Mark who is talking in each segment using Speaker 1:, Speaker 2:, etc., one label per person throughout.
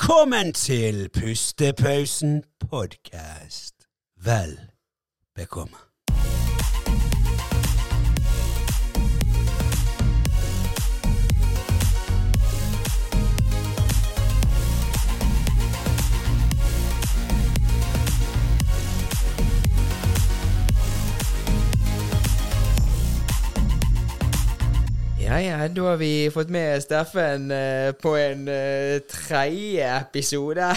Speaker 1: Velkommen til Pustepausen podkast. Vel bekomme.
Speaker 2: Ja, ja, da har vi fått med Steffen eh, på en eh, tredje episode.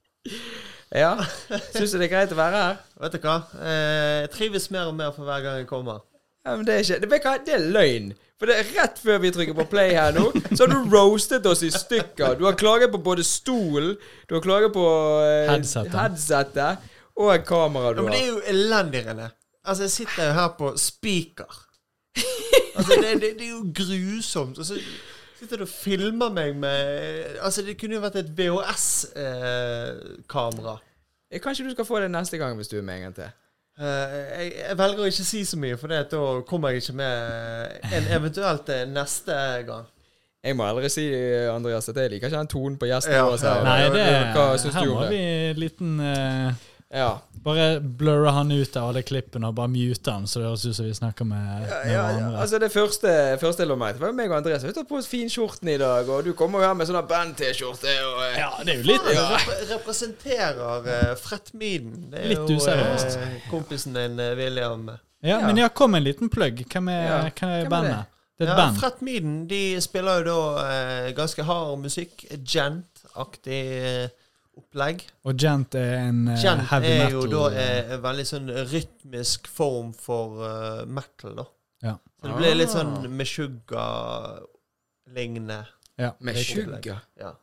Speaker 2: ja. Syns du det er greit å være her?
Speaker 3: Vet du hva? Eh, Jeg trives mer og mer for hver gang jeg kommer.
Speaker 2: Ja, men det er ikke det, vet du hva, det er løgn. For det er rett før vi trykker på play her nå, så har du roastet oss i stykker. Du har klaget på både stolen, du har klaget på eh,
Speaker 4: Headsetet.
Speaker 2: headsetet og kameraet
Speaker 3: Ja,
Speaker 2: du
Speaker 3: men det
Speaker 2: har.
Speaker 3: er jo elendig, René. Altså, jeg sitter jo her på spiker. Altså, det, det, det er jo grusomt. Og så sitter du og filmer meg med Altså, det kunne jo vært et eh, VHS-kamera.
Speaker 2: Kanskje du skal få det neste gang hvis du er med en gang til.
Speaker 3: Eh, jeg, jeg velger å ikke si så mye, for det at da kommer jeg ikke med en eventuelt eh, neste gang.
Speaker 2: Jeg må aldri si, eh, Andreas, at jeg liker ikke den tonen på gjesten
Speaker 3: Ja,
Speaker 2: vår. så-
Speaker 3: ja.
Speaker 4: Nei, det
Speaker 2: Hva syns
Speaker 4: Her
Speaker 2: du
Speaker 4: må
Speaker 2: om
Speaker 4: vi
Speaker 2: det?
Speaker 4: en liten eh,
Speaker 2: Ja.
Speaker 4: Bare blurre han ut av alle klippene og bare mute han, så det høres ut som vi snakker med, med
Speaker 2: Ja,
Speaker 4: hverandre.
Speaker 2: altså det første, første jeg la meg til, var jo meg og Andreas. Vi tar på oss finskjorten i dag, og du kommer jo her med sånn der band-T-skjorte. og... eh,
Speaker 4: Ja, det er jo litt
Speaker 3: Ja. Rep representerer uh, Frettmiden. Det er
Speaker 4: Litt
Speaker 3: jo
Speaker 4: useriøst.
Speaker 3: eh, kompisen din, eh, William.
Speaker 4: Ja, men ja, kom en liten plugg. Hvem er,
Speaker 2: Ja,
Speaker 4: hvem
Speaker 2: hvem er
Speaker 4: er bandet? Det er
Speaker 3: Ja,
Speaker 4: et band.
Speaker 3: Fred Meaden de spiller jo da eh, ganske hard musikk. Gent-aktig eh, opplegg.
Speaker 4: Og Gent er en eh,
Speaker 3: Gent
Speaker 4: heavy
Speaker 3: er jo
Speaker 4: metal.
Speaker 3: da eh, en veldig sånn rytmisk form for eh, metal, da.
Speaker 4: Ja.
Speaker 3: Så det blir litt
Speaker 2: Ah.
Speaker 3: sånn Meshuggah-lignende.
Speaker 4: ja,
Speaker 2: Med
Speaker 4: riktig.
Speaker 2: skygger.
Speaker 3: Ja.
Speaker 2: Ja,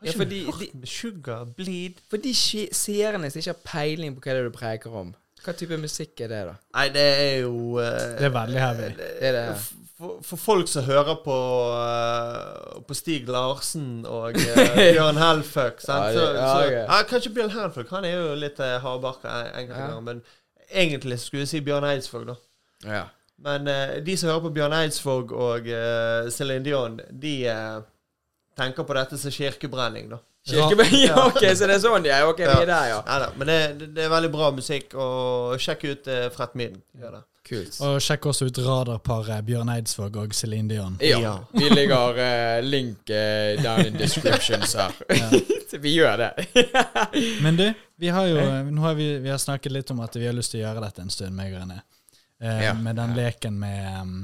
Speaker 3: Har ikke
Speaker 2: fordi
Speaker 3: du hørt
Speaker 2: de-
Speaker 3: Meshuggah, Bleed
Speaker 2: For de skje- seerne som ikke har peiling på hva det er du preker om, hva type musikk er det, da?
Speaker 3: Nei, det er jo eh,
Speaker 4: Det er veldig heavy.
Speaker 2: Det er det
Speaker 3: for, for folk som hører på, eh, på Stig Larsen og eh, Bjørn Helføk
Speaker 2: Ja, det-
Speaker 3: sant? Så,
Speaker 2: ja,
Speaker 3: så,
Speaker 2: ja.
Speaker 3: ja, Kanskje Bjørn Helføk. Han er jo litt eh, hardbarka en- enkelte
Speaker 2: Ja.
Speaker 3: ganger. Men egentlig skulle jeg si Bjørn Eidsvåg, da.
Speaker 2: ja.
Speaker 3: Men eh, de som hører på Bjørn Eidsvåg og eh, Céline Dion, de eh, tenker på dette som kirkebrenning, da.
Speaker 2: Kirkebøy, ja, ok, så det er sånn, ja. Ok, vi
Speaker 3: Ja.
Speaker 2: er der, ja.
Speaker 3: Neida, men det, det, det er veldig bra musikk, og sjekk ut eh, Frett Midden. Gjør det.
Speaker 2: Kult.
Speaker 4: Og sjekk også ut radarparet Bjørn Eidsvåg og Celine Dion.
Speaker 2: Ja.
Speaker 3: Ja.
Speaker 2: Vi ligger eh, link eh, down in descriptions her. Så vi gjør det.
Speaker 4: Men du, vi har jo nå har vi, vi har snakket litt om at vi har lyst til å gjøre dette en stund, meg og René. Eh,
Speaker 2: Ja.
Speaker 4: Med den leken med em,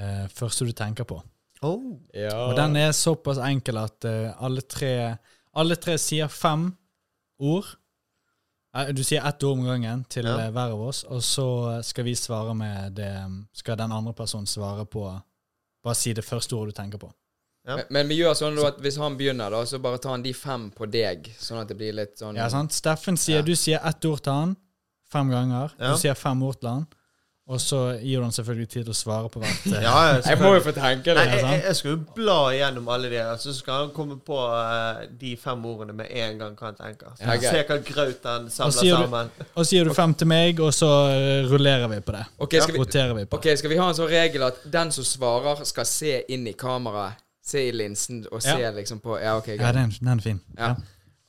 Speaker 4: eh, første du tenker på.
Speaker 3: Oh.
Speaker 2: Ja.
Speaker 4: Og den er såpass enkel at eh, alle, tre, alle tre sier fem ord. Eh, Du sier ett ord om gangen til
Speaker 3: Ja.
Speaker 4: eh, hver av oss, og så skal vi svare med det um, Skal den andre personen svare på Bare si det første ordet du tenker på.
Speaker 2: Men- Men vi gjør sånn da at hvis han begynner, da, så bare tar han de fem på deg, sånn at det blir litt sånn
Speaker 4: Ja, sant? Steffen sier
Speaker 2: Ja.
Speaker 4: du sier ett ord til han fem ganger.
Speaker 3: Ja.
Speaker 4: Du sier fem ord til han, og så gir du han selvfølgelig tid til å svare på hvert. eh,
Speaker 3: Ja, ja,
Speaker 2: Jeg må jo få tenke
Speaker 3: Nei,
Speaker 2: det.
Speaker 3: jeg,
Speaker 4: sant?
Speaker 3: jeg, jeg skal jo bla igjennom alle de der, så skal han komme på eh, de fem ordene med en gang, kan jeg tenke. Så
Speaker 2: Ja, ok.
Speaker 3: Se hva graut han
Speaker 4: Og
Speaker 3: samler
Speaker 4: så gir du-
Speaker 3: sammen.
Speaker 4: Og så gir du fem til meg, og så eh, rullerer vi på det.
Speaker 2: Ok, skal vi,
Speaker 4: Roterer vi på
Speaker 2: Ok, skal vi ha en sånn regel at den som svarer, skal se inn i kameraet, se i linsen og se
Speaker 4: Ja.
Speaker 2: liksom på Ja, ok,
Speaker 4: det. Ja,
Speaker 2: greit.
Speaker 4: den, den er fin.
Speaker 2: Ja.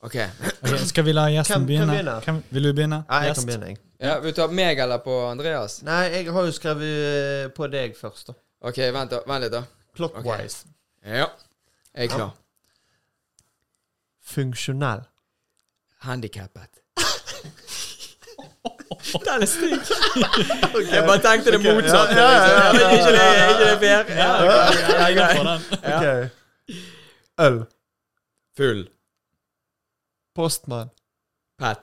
Speaker 2: Ok.
Speaker 4: Ok, skal vi la
Speaker 3: Hvem- hvem
Speaker 4: gjesten begynne?
Speaker 3: begynner?
Speaker 4: Hvem- vil du begynne?
Speaker 3: Nei, jeg
Speaker 4: Gjest?
Speaker 3: kan begynne, jeg.
Speaker 2: Ja, vil du ta meg eller på Andreas?
Speaker 3: Nei, jeg har jo skrevet eh, på deg først, da.
Speaker 2: Ok, vent da, vent litt, da.
Speaker 3: Clockwise.
Speaker 2: Ja. Jeg er klar.
Speaker 3: Funksjonell.
Speaker 2: Handikappet. Den er stygg. Jeg bare tenkte det motsatte.
Speaker 3: ja, ja, ja,
Speaker 2: liksom.
Speaker 3: ja, ja,
Speaker 2: Ikke det, ikke det fair? Ja, ok, ja,
Speaker 4: Jeg går
Speaker 2: greit.
Speaker 4: for den.
Speaker 2: Ja.
Speaker 3: Ok. Øl.
Speaker 2: Full.
Speaker 3: Postmann.
Speaker 2: Pet.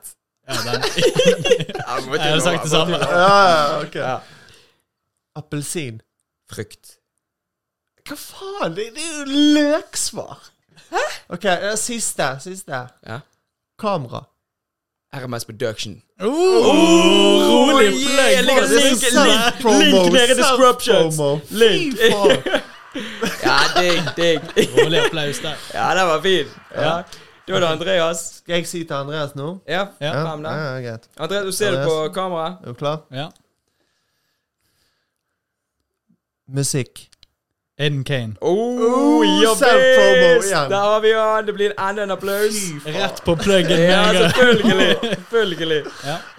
Speaker 4: Ja, den.
Speaker 2: Jeg må til
Speaker 4: Jeg hadde
Speaker 2: nå,
Speaker 4: sagt det
Speaker 2: jeg må
Speaker 4: samme.
Speaker 2: til nå.
Speaker 3: Ja, ok.
Speaker 2: Ja.
Speaker 3: Appelsin.
Speaker 2: Frykt.
Speaker 3: Hva faen? Det, det er jo løksvar. Hæ? Ok, eh, siste. Siste.
Speaker 2: Ja.
Speaker 3: Kamera.
Speaker 2: RMS Production.
Speaker 4: Uh, rolig
Speaker 2: Oh, yeah,
Speaker 4: plugg.
Speaker 2: jeg ligger-
Speaker 4: Bare det
Speaker 2: ligger-
Speaker 4: som-
Speaker 2: ligger- link nede i descriptions.
Speaker 3: Link. Fy faen.
Speaker 2: Ja, digg, digg.
Speaker 4: Rolig applaus der.
Speaker 2: Ja, den var fin. Ja. Da er det Andreas.
Speaker 3: Skal jeg si til Andreas nå?
Speaker 2: Ja,
Speaker 4: Ja.
Speaker 2: fem der.
Speaker 3: ja, greit.
Speaker 2: Andreas, du ser det på
Speaker 3: Andreas.
Speaker 2: kameraet.
Speaker 3: Er du klar?
Speaker 4: Ja.
Speaker 3: Musikk.
Speaker 4: Aiden Kane.
Speaker 2: Oh, ja
Speaker 3: self-promo
Speaker 2: visst!
Speaker 3: igjen.
Speaker 2: Der har vi han! Det blir enda en applaus.
Speaker 4: Rett på pluggen.
Speaker 2: Ja,
Speaker 4: med en gang.
Speaker 2: selvfølgelig. Selvfølgelig.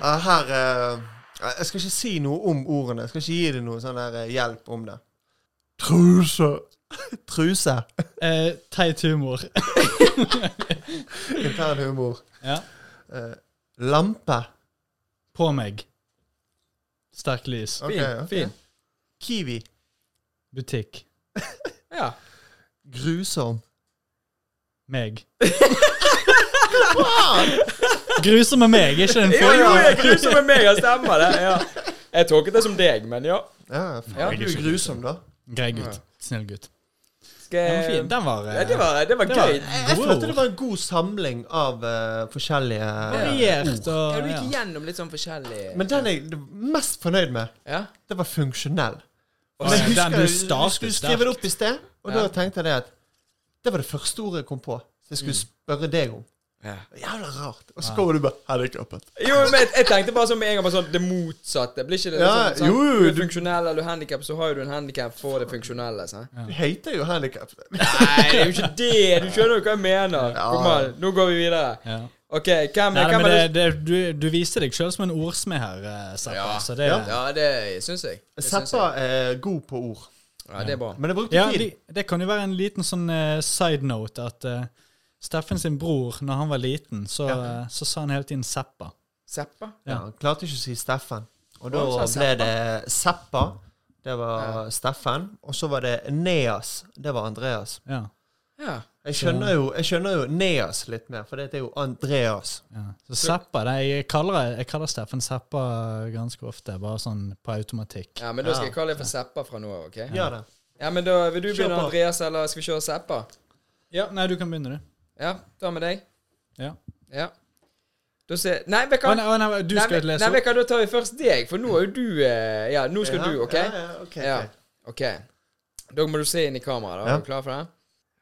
Speaker 3: Ja, her eh, Jeg skal ikke si noe om ordene. Jeg skal ikke gi deg noe sånn der eh, hjelp om det. Truse. Truse.
Speaker 4: Eh, Teit humor.
Speaker 3: Intern humor.
Speaker 4: Ja.
Speaker 3: Eh, lampe.
Speaker 4: På meg. Sterk lys.
Speaker 3: Ok, ok.
Speaker 2: Fin.
Speaker 3: Kiwi.
Speaker 4: Butikk.
Speaker 2: Ja.
Speaker 3: Grusom.
Speaker 4: Meg.
Speaker 3: Faen!
Speaker 4: Grusomme meg, er ikke den
Speaker 2: Jo,
Speaker 4: forrige?
Speaker 2: jo, jeg grusom med meg, jeg stemmer det. Ja. Jeg tolket det som deg, men ja.
Speaker 3: Ja,
Speaker 2: Ja.
Speaker 3: faen, du er grusom, da.
Speaker 4: Grei gutt. Snill gutt. Den var
Speaker 2: Skal
Speaker 4: fin. Den var, eh,
Speaker 2: ja, det var, det var
Speaker 4: det var
Speaker 2: gøy.
Speaker 3: Jeg, jeg
Speaker 4: Wow.
Speaker 3: følte det var en god samling av eh, forskjellige
Speaker 4: variert
Speaker 2: Ja,
Speaker 4: og
Speaker 2: du gikk
Speaker 4: ja.
Speaker 2: igjennom litt sånn forskjellig
Speaker 3: Men den jeg er mest fornøyd med,
Speaker 2: Ja.
Speaker 3: det var funksjonell.
Speaker 4: Ja,
Speaker 3: Men
Speaker 4: den
Speaker 3: husker
Speaker 4: du
Speaker 3: jeg-
Speaker 4: startet
Speaker 3: skulle
Speaker 4: sterkt.
Speaker 3: skrive det opp i sted, og
Speaker 2: Ja.
Speaker 3: da tenkte jeg det at Det var det første ordet jeg kom på som jeg skulle
Speaker 4: Mm.
Speaker 3: spørre deg om.
Speaker 2: Ja.
Speaker 3: Jævla rart. Og så kommer du bare Hadde ikke oppet.
Speaker 2: Jo, men jeg- jeg tenkte bare sånn med en gang på sånn det motsatte. Blir ikke det
Speaker 3: Ja,
Speaker 2: sånn, sånn
Speaker 3: jo, jo,
Speaker 2: Du er
Speaker 3: du-
Speaker 2: funksjonell eller handikap, så har jo du en handikap for det funksjonelle. Sant?
Speaker 3: Du hater jo handikap.
Speaker 2: Nei, det er jo ikke det! Du skjønner jo hva jeg mener.
Speaker 3: Ja.
Speaker 2: Kom an, nå går vi videre.
Speaker 4: Ja.
Speaker 2: OK, hvem,
Speaker 4: Nei, nei,
Speaker 2: hvem
Speaker 4: men
Speaker 2: er
Speaker 4: det,
Speaker 2: det
Speaker 4: det, du, du viste deg sjøl som en ordsmed her, eh, Zappa.
Speaker 2: Ja.
Speaker 4: Så det,
Speaker 3: Ja.
Speaker 4: ja.
Speaker 2: Ja, det syns jeg. Det syns
Speaker 3: Seppa er god på ord,
Speaker 2: jeg. Ja, det er bra.
Speaker 3: men jeg brukte tid.
Speaker 4: de, det kan jo være en liten sånn eh, side note at eh, Steffen sin bror, når han var liten, så, eh, så sa han hele tiden Zappa.
Speaker 2: Seppa?
Speaker 3: Ja, han klarte ikke å si Steffen. Og da
Speaker 2: Å, sa
Speaker 3: ble det Seppa. Det var Steffen. Og så var det Neas. Det var Andreas.
Speaker 4: Ja.
Speaker 2: Ja.
Speaker 3: Jeg skjønner jo, jeg skjønner jo Neas litt mer, for det er jo Andreas.
Speaker 4: Ja. Så Zappa det, jeg, kaller, jeg kaller Steffen Zappa ganske ofte, bare sånn på automatikk.
Speaker 2: ja, men da skal jeg kalle deg for Seppa fra nå av, OK?
Speaker 3: Gjør det.
Speaker 2: Ja, men da Vil du
Speaker 3: Kjør
Speaker 2: begynne,
Speaker 3: på.
Speaker 2: Andreas, eller skal vi kjøre Seppa?
Speaker 4: Ja, Nei, du kan begynne, du.
Speaker 2: Ja, ta med deg.
Speaker 4: Ja.
Speaker 2: Ja. Da ser Nei, vet du
Speaker 4: Å,
Speaker 2: hva?
Speaker 4: nei, å, nei, du skal
Speaker 2: nei,
Speaker 4: lese
Speaker 2: nei,
Speaker 4: opp.
Speaker 2: vet du hva, da tar vi først deg, for nå er jo du eh, Ja, nå skal
Speaker 3: Ja,
Speaker 2: du, OK?
Speaker 3: Ja, ja, ok,
Speaker 2: Ja,
Speaker 3: ok.
Speaker 2: OK. Da må du se inn i kameraet. da.
Speaker 3: Ja.
Speaker 2: Er du klar for det?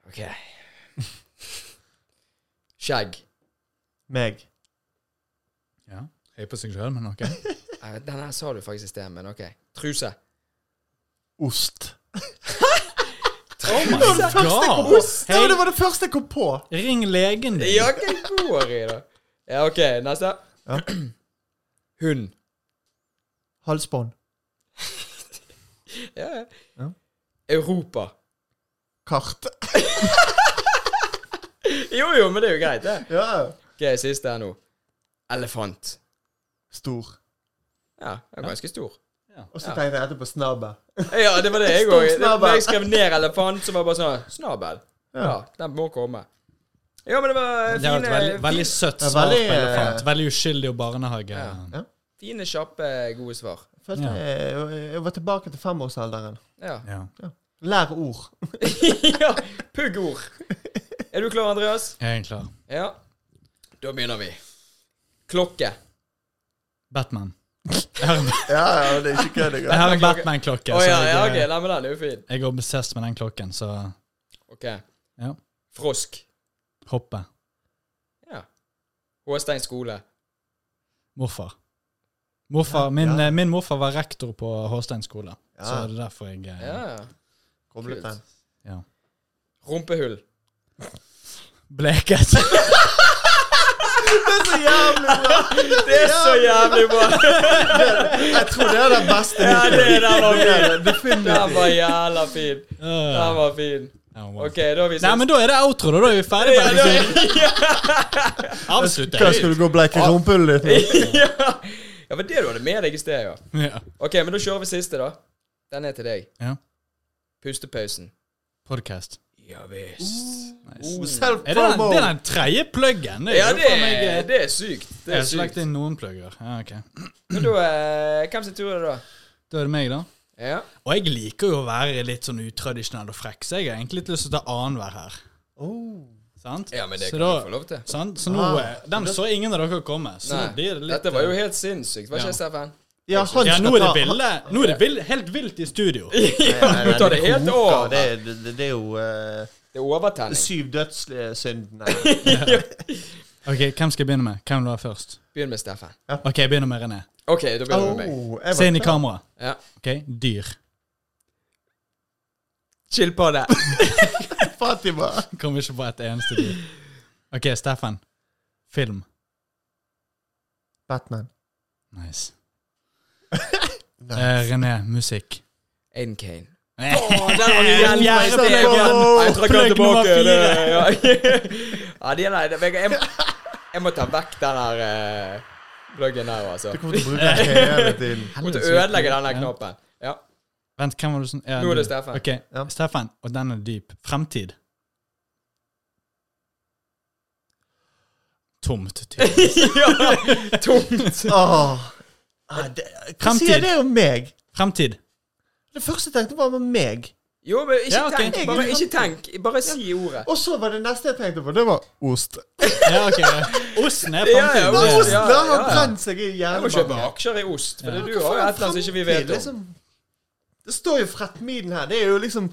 Speaker 2: OK. Skjegg.
Speaker 3: Meg.
Speaker 4: Ja. Høy på seg sjøl, men OK.
Speaker 2: Eh, Den her sa du faktisk i sted, men OK. Truse.
Speaker 3: Ost.
Speaker 4: Oh my
Speaker 3: Kom på. Det var- det var det første jeg kom på!
Speaker 4: Ring legen din.
Speaker 2: Ja, hva går i, da? Ja, OK, neste.
Speaker 3: Ja.
Speaker 2: Hund.
Speaker 3: Halsbånd.
Speaker 2: Ja, ja.
Speaker 3: Ja.
Speaker 2: Europa.
Speaker 3: Kart.
Speaker 2: Jo, jo, men det er jo greit, det.
Speaker 3: Ja.
Speaker 2: OK, siste her nå. Elefant.
Speaker 3: Stor.
Speaker 2: Ja, den er ganske stor.
Speaker 3: Og så
Speaker 2: Ja.
Speaker 3: tenkte jeg etterpå snabbe.
Speaker 2: Ja, det var det jeg
Speaker 3: Stor
Speaker 2: òg.
Speaker 3: snabel.
Speaker 2: Da jeg skrev ned elefant, så var det bare sånn Snabel. Ja, den må komme. Ja, men det var eh,
Speaker 4: Det var et
Speaker 2: fine,
Speaker 4: veldig, veldig
Speaker 2: fine,
Speaker 4: søtt
Speaker 3: Ja,
Speaker 4: svar på
Speaker 3: veldig, eh,
Speaker 4: elefant. Veldig uskyldig og barnehage.
Speaker 2: Ja.
Speaker 3: Ja.
Speaker 2: fine, kjappe, gode svar.
Speaker 3: Jeg Følte jeg, jeg var tilbake til femårsalderen.
Speaker 2: Ja.
Speaker 4: Ja.
Speaker 3: Lær ord.
Speaker 2: ja Puggord. Er du klar, Andreas?
Speaker 4: Jeg er klar.
Speaker 2: Ja. Da begynner vi. Klokke.
Speaker 4: Batman. Jeg har en,
Speaker 3: Ja, ja, det er ikke kødd
Speaker 4: jeg
Speaker 3: engang.
Speaker 4: har en Batman-klokke.
Speaker 2: Å
Speaker 4: så
Speaker 2: ja, ja, ok.
Speaker 4: jeg, eh,
Speaker 2: Nei, men den er jo fin.
Speaker 4: jeg er obsessed med den klokken, så
Speaker 2: Ok.
Speaker 4: Ja.
Speaker 2: Frosk.
Speaker 4: hoppe.
Speaker 2: Ja. Håstein skole.
Speaker 4: Morfar. Morfar,
Speaker 3: Ja,
Speaker 4: min,
Speaker 3: ja.
Speaker 4: eh, min morfar var rektor på Håstein skole, så
Speaker 3: Ja.
Speaker 4: det er derfor jeg eh,
Speaker 2: Ja.
Speaker 3: Koblet den.
Speaker 4: ja.
Speaker 2: Rumpehull.
Speaker 4: bleket.
Speaker 3: Det er så jævlig bra!
Speaker 2: Det er så jævlig bra!
Speaker 3: Jeg tror det er den beste
Speaker 2: Ja, det er den var fin. Den
Speaker 3: Definitivt.
Speaker 2: var jævla fin. Den var fin.
Speaker 4: Ja, wow.
Speaker 2: Ok, da har vi
Speaker 4: Nei, men da er det outro, da. Da er liksom- vi ferdig
Speaker 2: Ja,
Speaker 4: med
Speaker 2: da-
Speaker 4: episoden. Avslutt
Speaker 3: Hva, skal du gå og bleike rumpehullet ditt?
Speaker 2: ja. ja, for det du hadde med deg i sted, ja.
Speaker 4: Ja.
Speaker 2: Ok, men da kjører vi siste, da. Den er til deg.
Speaker 4: ja.
Speaker 2: Pustepausen.
Speaker 4: Podcast.
Speaker 2: Ja visst.
Speaker 3: Oh,
Speaker 4: Nice. Er det den,
Speaker 3: Self-promo.
Speaker 4: det er den tredje pluggen? Det er
Speaker 2: Ja,
Speaker 4: jo
Speaker 2: det,
Speaker 4: faen meg, eh,
Speaker 2: det er sykt. Det
Speaker 4: Jeg
Speaker 2: er
Speaker 4: har ikke lagt
Speaker 2: sykt.
Speaker 4: inn noen plugger. Ja, ok.
Speaker 2: Men da eh, Hvem sin tur er det, da?
Speaker 4: Da er det meg, da.
Speaker 2: Ja.
Speaker 4: Og jeg liker jo å være litt sånn utradisjonell og frekk, så jeg har egentlig litt lyst til å ta annenhver her.
Speaker 3: Oh.
Speaker 4: Sant?
Speaker 2: ja, men det
Speaker 4: så
Speaker 2: kan du få lov til.
Speaker 4: sant? Så nå,
Speaker 3: Ah,
Speaker 4: eh, Den så ingen av dere komme, så
Speaker 2: Nei,
Speaker 4: nå blir det litt
Speaker 2: dette var jo helt sinnssykt, var
Speaker 4: Ja.
Speaker 2: ikke det, Steffen?
Speaker 3: Ja, han
Speaker 4: ja,
Speaker 3: skal
Speaker 4: nå er det
Speaker 3: ta-
Speaker 4: ville, nå er det ville, helt vilt i studio.
Speaker 3: Nei, nei,
Speaker 2: Nå tar det helt
Speaker 3: koker.
Speaker 2: over.
Speaker 3: Det, er- det, det er jo eh,
Speaker 2: Det er overtenning.
Speaker 3: syv dødssyndene.
Speaker 4: Ok, Hvem skal jeg begynne med? Hvem vil du ha først?
Speaker 2: Begynn med Steffen.
Speaker 4: Ok, Jeg begynner med René.
Speaker 2: OK, da begynner vi med meg.
Speaker 3: Oh, jeg var
Speaker 4: Se inn i
Speaker 3: klar.
Speaker 4: kamera.
Speaker 2: Ja.
Speaker 4: Ok, Dyr.
Speaker 2: Skilpadde.
Speaker 3: Fatima.
Speaker 4: Kom ikke på et eneste dyr. OK, Steffen. Film.
Speaker 3: Batman.
Speaker 4: Nice. Eh, René, musikk. Eh,
Speaker 2: Aiden Kane.
Speaker 4: Nei,
Speaker 2: Å, der var vi igjen!
Speaker 4: Ja,
Speaker 2: Feil steg
Speaker 3: stemmer.
Speaker 2: igjen.
Speaker 3: Wow.
Speaker 2: Jeg trekker den
Speaker 4: Plugg nummer
Speaker 2: tilbake. det- Ja, Ja, de er nei, det- jeg, jeg, jeg må ta vekk den her eh, pluggen her, altså.
Speaker 3: Du kommer til å bruke den hele tiden.
Speaker 2: Måtte
Speaker 4: helvetes
Speaker 2: ødelegge
Speaker 4: uke.
Speaker 2: den der
Speaker 4: Ja.
Speaker 2: knappen. Ja.
Speaker 4: Vent, hvem var du som ja,
Speaker 2: Nå er det
Speaker 4: du.
Speaker 2: Steffen.
Speaker 4: Ok,
Speaker 3: Ja.
Speaker 4: Steffen, og den er dyp. Fremtid. Tomt, tydeligvis.
Speaker 2: ja! Tomt.
Speaker 3: Åh. Ah, det, hva
Speaker 4: Fremtid.
Speaker 3: sier det om meg?
Speaker 4: Fremtid.
Speaker 3: Det første jeg tenkte, var om meg.
Speaker 2: Jo, men ikke
Speaker 4: Ja, ok.
Speaker 2: tenk. Bare ikke tenk. Bare si ordet.
Speaker 3: Og så var det neste jeg tenkte på, det var ost.
Speaker 4: Ja, ok. Osten er
Speaker 2: Ja, ja,
Speaker 4: fremtid.
Speaker 2: osten.
Speaker 4: det er
Speaker 3: Ost
Speaker 4: det.
Speaker 2: ja,
Speaker 3: ja, har
Speaker 2: ja.
Speaker 3: brent seg i
Speaker 2: Jeg må
Speaker 3: hjernen.
Speaker 2: kjøpe
Speaker 3: bare.
Speaker 2: aksjer i ost, for
Speaker 4: Ja.
Speaker 2: du har jo et eller annet som ikke vi vet om.
Speaker 3: Liksom, det står jo Frettmiden her. Det er jo liksom